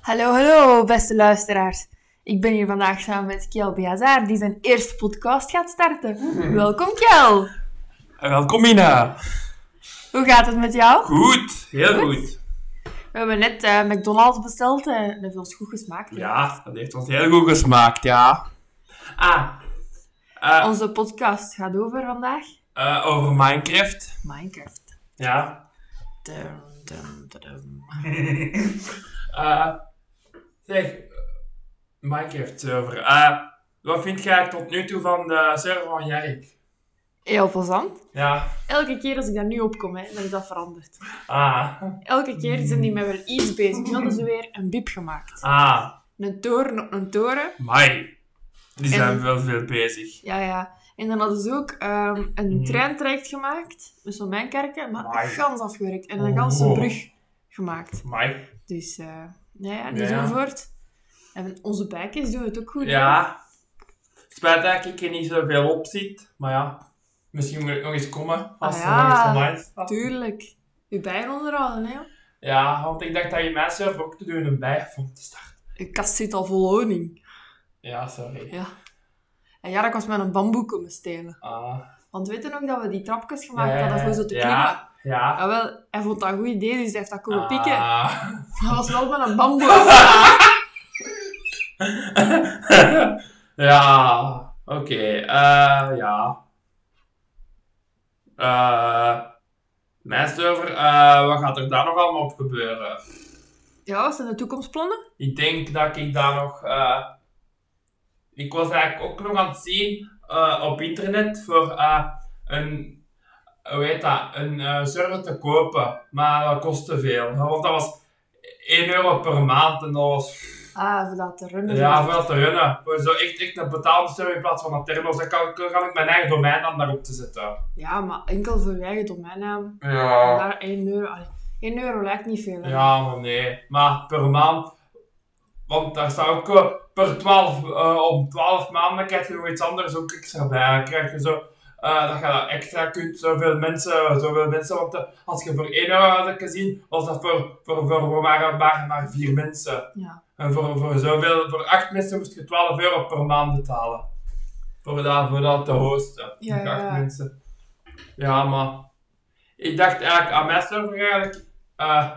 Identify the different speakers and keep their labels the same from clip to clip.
Speaker 1: Hallo, hallo, beste luisteraars. Ik ben hier vandaag samen met Kjell Beazaar, die zijn eerste podcast gaat starten. Welkom, Kjell.
Speaker 2: En Welkom Mina.
Speaker 1: Hoe gaat het met jou?
Speaker 2: Goed, heel
Speaker 1: Goed?
Speaker 2: goed.
Speaker 1: We hebben net eh, McDonald's besteld eh, en dat heeft ons goed gesmaakt. hè?
Speaker 2: Ja, dat heeft ons heel goed gesmaakt, ja. Ah, eh,
Speaker 1: Onze podcast gaat over vandaag
Speaker 2: eh, over Minecraft.
Speaker 1: Minecraft.
Speaker 2: Ja.
Speaker 1: Dum, dum, dum, dum.
Speaker 2: Eh, zeg, Minecraft server. Eh, wat vind jij tot nu toe van de server van Jerk?
Speaker 1: Heel plezant.
Speaker 2: Ja.
Speaker 1: Elke keer als ik daar nu op kom, hè, dan is dat veranderd.
Speaker 2: Ah,
Speaker 1: Elke keer zijn die met wel iets bezig. Nu hadden ze weer een biep gemaakt.
Speaker 2: ah,
Speaker 1: Een toren op een toren.
Speaker 2: mai. Die
Speaker 1: En-
Speaker 2: zijn wel veel bezig.
Speaker 1: Ja, ja. En dan hadden ze ook ehm, een
Speaker 2: Mhm.
Speaker 1: treintraject gemaakt, dus met zo'n mijnkerken, maar
Speaker 2: Amai.
Speaker 1: gans afgewerkt. En een
Speaker 2: Oh.
Speaker 1: ganse brug gemaakt.
Speaker 2: Mai.
Speaker 1: Dus, eh ja, ja, die
Speaker 2: Ja,
Speaker 1: doen
Speaker 2: ja.
Speaker 1: voort. En onze bijkjes doen het ook goed. hè?
Speaker 2: Ja. Spijt dat ik er niet zoveel op zit, maar ja. Misschien moet ik nog eens komen als
Speaker 1: Ah,
Speaker 2: er nog eens
Speaker 1: ja.
Speaker 2: online staat.
Speaker 1: Tuurlijk. Je bijen onderhouden, hè.
Speaker 2: Ja, want ik dacht dat je mij zelf ook te doen een bij vond te starten.
Speaker 1: Een kast zit al vol honing.
Speaker 2: Ja, sorry.
Speaker 1: Ja. En ja, dat was met een bamboe komen stelen.
Speaker 2: Ah,
Speaker 1: Want weet je nog dat we die trapjes gemaakt
Speaker 2: Ja, ja,
Speaker 1: hadden voor zo te
Speaker 2: ja.
Speaker 1: klimmen?
Speaker 2: ja.
Speaker 1: Jawel, hij vond dat een goed idee, dus hij heeft dat komen
Speaker 2: Ah.
Speaker 1: pikken. Dat was wel met een bamboe.
Speaker 2: ja, oké. eh ja. Eh mijn server, eh, wat gaat er daar nog allemaal op gebeuren?
Speaker 1: ja, wat zijn de toekomstplannen?
Speaker 2: Ik denk dat ik daar nog. eh, ik was eigenlijk ook nog aan het zien eh, op internet voor eh, een. Hoe heet dat? Een eh, server te kopen. Maar dat kost te veel. Want dat was 1 euro per maand en dat was.
Speaker 1: Ah, voor dat te runnen.
Speaker 2: Ja, veel te runnen. Voor zo echt, echt een betaalde server in plaats van een terminal. Dan kan, ik- kan ik mijn eigen domein dan daarop te zetten.
Speaker 1: Ja, maar enkel voor je eigen domeinnaam. En
Speaker 2: Ja.
Speaker 1: Daar 1 euro. Allee, 1 euro lijkt niet veel. hè.
Speaker 2: Ja, maar nee. Maar per maand. Want daar staat ook eh, per 12, eh, om 12 maanden krijg je nog iets anders ook extra bij. Dan krijg je zo, eh, dat je dat extra kunt, zoveel mensen, zoveel mensen. Want eh, als je voor 1 euro had gezien, was dat voor, voor, voor, voor maar, maar, maar 4 mensen.
Speaker 1: Ja.
Speaker 2: En voor, voor zoveel, voor 8 mensen moest je 12 euro per maand betalen. Voor dat, voor dat te hosten.
Speaker 1: Ja,
Speaker 2: Voor acht
Speaker 1: ja.
Speaker 2: mensen. Ja, maar ik dacht eigenlijk aan mijn server eigenlijk eh,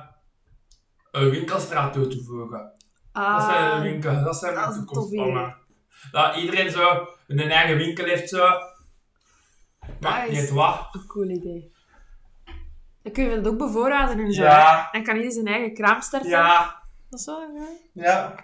Speaker 2: een winkelstraat toe te voegen.
Speaker 1: Ah,
Speaker 2: dat zijn de winkels, dat zijn
Speaker 1: dat is
Speaker 2: de
Speaker 1: een tof
Speaker 2: toekomstplannen. Dat iedereen zo een eigen winkel heeft zo. Maar
Speaker 1: is-
Speaker 2: niet wat.
Speaker 1: een cool idee. Dan kun je dat ook bevoorraden en zo.
Speaker 2: Ja.
Speaker 1: hè. Dan kan iedereen zijn eigen kraam starten.
Speaker 2: Ja,
Speaker 1: Dat zou ja.
Speaker 2: ja.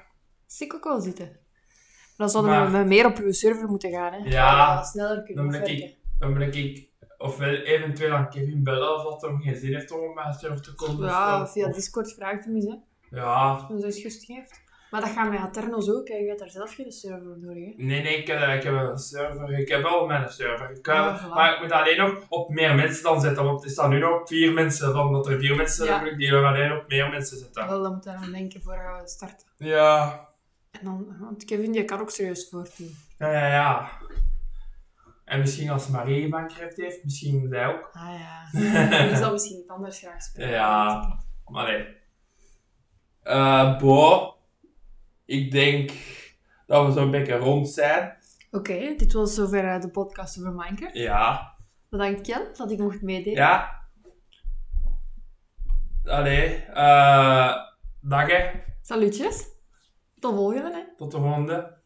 Speaker 1: Ziek ook wel zitten. Maar dan zouden
Speaker 2: Maar-
Speaker 1: we met meer op uw server moeten gaan. Hè.
Speaker 2: Ja.
Speaker 1: sneller
Speaker 2: Dan
Speaker 1: kunnen
Speaker 2: ben
Speaker 1: werken.
Speaker 2: ik, dan ben ik ofwel eventueel aan Kevin bellen of dat hem geen zin heeft om op mijn server te komen.
Speaker 1: Ja,
Speaker 2: of-
Speaker 1: via
Speaker 2: of-
Speaker 1: Discord vraagt hem eens, hè.
Speaker 2: Ja.
Speaker 1: Als hij eens gust geeft. Maar dat gaan wij Aternos ook, hè. Je hebt daar zelf geen server voor nodig, hè.
Speaker 2: Nee, nee, ik, heb- ik heb een server. Ik heb al mijn server. Ik,
Speaker 1: Ja,
Speaker 2: heb-
Speaker 1: voilà.
Speaker 2: Maar ik moet alleen nog op meer mensen dan zetten. Want het is dan nu nog vier mensen. Van dat er vier mensen
Speaker 1: Ja.
Speaker 2: zijn, moet ik die er alleen op meer mensen zetten.
Speaker 1: Wel, dan moeten we aan denken voor we starten.
Speaker 2: Ja.
Speaker 1: En dan, want Kevin die kan ook serieus voortdoen.
Speaker 2: Ja, ja, ja. En misschien als Marie Minecraft heeft, misschien zij ook.
Speaker 1: Ah ja. Die zal misschien iets anders graag spelen.
Speaker 2: Ja. Maar nee. Eh, Bo, ik denk dat we zo'n beetje rond zijn.
Speaker 1: Oké, dit was zover eh, de podcast over Minecraft.
Speaker 2: Ja.
Speaker 1: Bedankt Jan dat ik mocht meedelen.
Speaker 2: Ja. Allee. eh dag hè.
Speaker 1: Salutjes. Tot volgende hè.
Speaker 2: Tot de volgende.